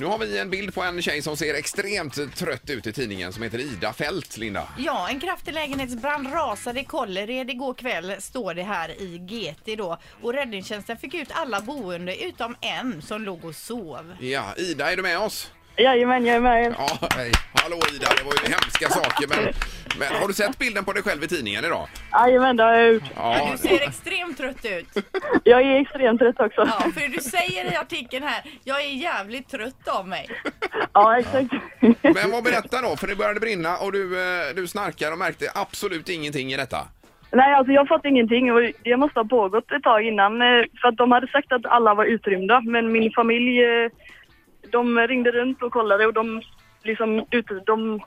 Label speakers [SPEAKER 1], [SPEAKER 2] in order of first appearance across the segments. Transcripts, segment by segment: [SPEAKER 1] Nu har vi en bild på en tjej som ser extremt trött ut i tidningen som heter Ida Fält, Linda.
[SPEAKER 2] Ja, en kraftig lägenhetsbrand rasade i Kållered igår kväll, står det här i GT då. Och räddningstjänsten fick ut alla boende utom en som låg och sov.
[SPEAKER 1] Ja, Ida, är du med oss?
[SPEAKER 3] Jajamän, jag är med.
[SPEAKER 1] Ja, hej. Hallå Ida, det var ju hemska saker. Men, men har du sett bilden på dig själv i tidningen idag?
[SPEAKER 3] Jajamän, det har jag gjort.
[SPEAKER 2] Men
[SPEAKER 1] Ja,
[SPEAKER 2] du ser extremt trött ut.
[SPEAKER 3] Jag är extremt trött också.
[SPEAKER 2] Ja, för du säger i artikeln här, jag är jävligt trött av mig.
[SPEAKER 3] Ja, exakt.
[SPEAKER 1] men vad berättar då? För det började brinna och du, eh, du snarkar och märkte absolut ingenting i detta.
[SPEAKER 3] Nej, alltså jag har fått ingenting och det måste ha pågått ett tag innan eh, för att de hade sagt att alla var utrymda men min familj eh, de ringde runt och kollade och de liksom ute, de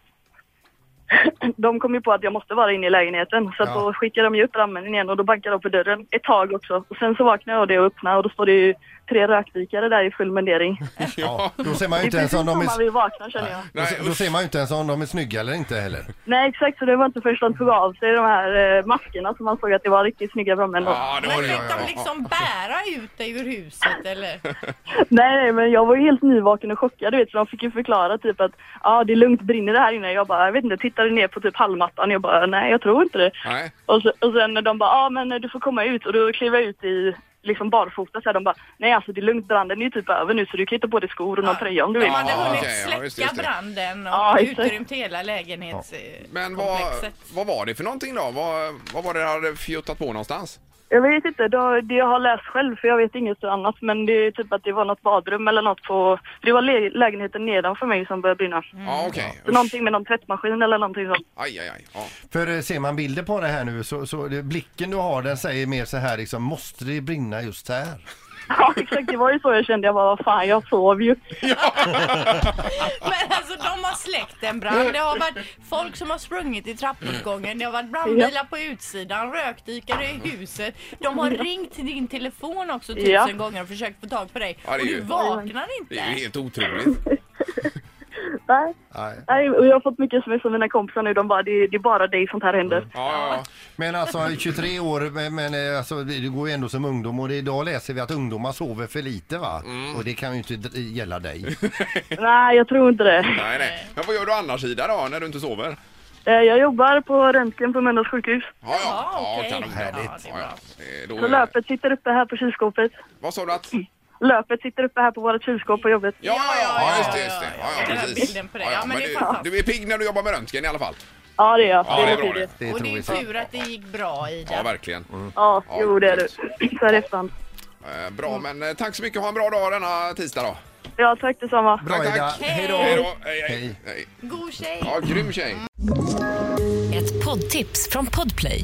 [SPEAKER 3] de kom ju på att jag måste vara inne i lägenheten så att
[SPEAKER 1] Ja.
[SPEAKER 3] då skickade de ju upp rammen igen och då bankade de på dörren ett tag också och sen så vaknade jag av det och öppnade och då står det ju tre rökdykare där i full mundering.
[SPEAKER 4] Ja, då ser man ju
[SPEAKER 3] Det är
[SPEAKER 4] inte ens
[SPEAKER 3] precis
[SPEAKER 4] om de
[SPEAKER 3] som
[SPEAKER 4] är...
[SPEAKER 3] man vill vakna känner jag.
[SPEAKER 4] Då,
[SPEAKER 1] Nej,
[SPEAKER 4] se- då ser man ju inte ens om de är snygga eller inte heller.
[SPEAKER 3] Nej exakt, så det var inte först de tog av sig de här eh, maskerna som man såg att det var riktigt snygga brommen.
[SPEAKER 1] Ja, det var
[SPEAKER 2] Men
[SPEAKER 1] det.
[SPEAKER 2] fick
[SPEAKER 1] Ja,
[SPEAKER 2] de
[SPEAKER 1] ja, ja.
[SPEAKER 2] liksom bära ut dig ur huset eller?
[SPEAKER 3] Nej, nej, men jag var ju helt nyvaken och chockad, du vet, så de fick ju förklara typ att ja, det är lugnt, brinner det här inne? Jag bara, jag vet inte, tittade ner på typ hallmattan och jag bara, nej, jag tror inte det.
[SPEAKER 1] Nej.
[SPEAKER 3] Och, så, och sen när de bara, ja, men du får komma ut och då klev jag ut i liksom barfota så här, de bara, nej alltså det är lugnt, branden är ju typ över nu så du kan hitta på dig skor och någon tröja om du vill.
[SPEAKER 2] De hade
[SPEAKER 1] Ja,
[SPEAKER 2] hunnit
[SPEAKER 1] okej, ja, just det,
[SPEAKER 2] släcka
[SPEAKER 1] just det.
[SPEAKER 2] branden och
[SPEAKER 3] Ja, exakt.
[SPEAKER 2] utrymt hela eh,
[SPEAKER 1] Men vad,
[SPEAKER 2] lägenhetskomplexet.
[SPEAKER 1] vad var det för någonting då? Vad, vad var det du hade fjuttat på någonstans?
[SPEAKER 3] Jag vet inte, då, det jag har läst själv för jag vet inget annat men det är typ att det var något badrum eller något på, det var lä- lägenheten nedanför mig som började brinna.
[SPEAKER 1] Ja, okej.
[SPEAKER 3] Så Någonting med någon tvättmaskin eller någonting sånt.
[SPEAKER 1] Aj, aj, aj. Ja.
[SPEAKER 4] För eh, ser man bilder på det här nu så, så det, blicken du har den säger mer så här liksom, måste det brinna just här?
[SPEAKER 3] Ja exakt, det var ju så jag kände, jag bara, vad fan jag sov ju.
[SPEAKER 2] Men alltså de har släckt en brand. Det har varit folk som har sprungit i trappuppgången. Det har varit brandbilar på utsidan, rökdykare i huset. De har ringt till din telefon också tusen
[SPEAKER 3] Ja.
[SPEAKER 2] gånger och försökt få tag på dig.
[SPEAKER 1] Ja, det är
[SPEAKER 2] och du
[SPEAKER 1] ju-
[SPEAKER 2] vaknar
[SPEAKER 1] Det är ju
[SPEAKER 2] inte.
[SPEAKER 1] helt otroligt.
[SPEAKER 3] Nej.
[SPEAKER 4] Nej.
[SPEAKER 3] Nej, och jag har fått mycket sms av mina kompisar nu. De bara, det, det är bara dig sånt här händer.
[SPEAKER 1] Ja, ja, ja.
[SPEAKER 4] Men alltså 23 år, men, men eh, alltså, du går ju ändå som ungdom och det- idag läser vi att ungdomar sover för lite va? Och det kan ju inte d- gälla dig.
[SPEAKER 1] Mm.
[SPEAKER 3] Nej, jag tror inte det.
[SPEAKER 1] Nej, nej. Men vad gör du annars, Ida, då, när du inte sover?
[SPEAKER 3] Eh, Jag jobbar på röntgen på Mölndals sjukhus.
[SPEAKER 1] Ja,
[SPEAKER 2] Ja, okej.
[SPEAKER 1] kanon.
[SPEAKER 2] Härligt.
[SPEAKER 1] Ja, ja. Eh, Då,
[SPEAKER 3] Så löpet sitter uppe här på kylskåpet.
[SPEAKER 1] vad sa du att? Ja,
[SPEAKER 3] Löpet sitter uppe här på vårt kylskåp på jobbet.
[SPEAKER 1] ja, ja,
[SPEAKER 2] ja, ja,
[SPEAKER 1] just det. Just
[SPEAKER 2] ja,
[SPEAKER 1] det.
[SPEAKER 2] ja.
[SPEAKER 1] Ja,
[SPEAKER 2] Den
[SPEAKER 1] ja,
[SPEAKER 2] här
[SPEAKER 1] precis.
[SPEAKER 2] bilden på dig. Ja, men det är fantastiskt.
[SPEAKER 1] Du är pigg när du jobbar med röntgen i alla fall.
[SPEAKER 3] Ja, det är jag.
[SPEAKER 1] Ja,
[SPEAKER 3] det
[SPEAKER 1] det är
[SPEAKER 3] är
[SPEAKER 1] bra
[SPEAKER 3] det.
[SPEAKER 4] Det
[SPEAKER 2] Och det
[SPEAKER 4] tror
[SPEAKER 2] är ju
[SPEAKER 4] vi så.
[SPEAKER 2] tur att det gick bra
[SPEAKER 1] Ja,
[SPEAKER 2] Ida.
[SPEAKER 1] verkligen.
[SPEAKER 3] Ja,
[SPEAKER 1] Ja,
[SPEAKER 3] jo det är det.
[SPEAKER 1] grymt.
[SPEAKER 3] Så här i efterhand.
[SPEAKER 1] Eh,
[SPEAKER 2] Mm.
[SPEAKER 1] Bra, men eh, tack så mycket. Ha en bra dag denna tisdag då.
[SPEAKER 3] Ja, tack detsamma.
[SPEAKER 4] Bra
[SPEAKER 1] Tack,
[SPEAKER 4] Ida,
[SPEAKER 1] tack.
[SPEAKER 4] hej
[SPEAKER 1] Hej
[SPEAKER 4] då!
[SPEAKER 1] då. Hej, hej.
[SPEAKER 4] Hej.
[SPEAKER 1] hej.
[SPEAKER 2] God tjej!
[SPEAKER 1] Ja, grym tjej.
[SPEAKER 5] Ett poddtips från Podplay.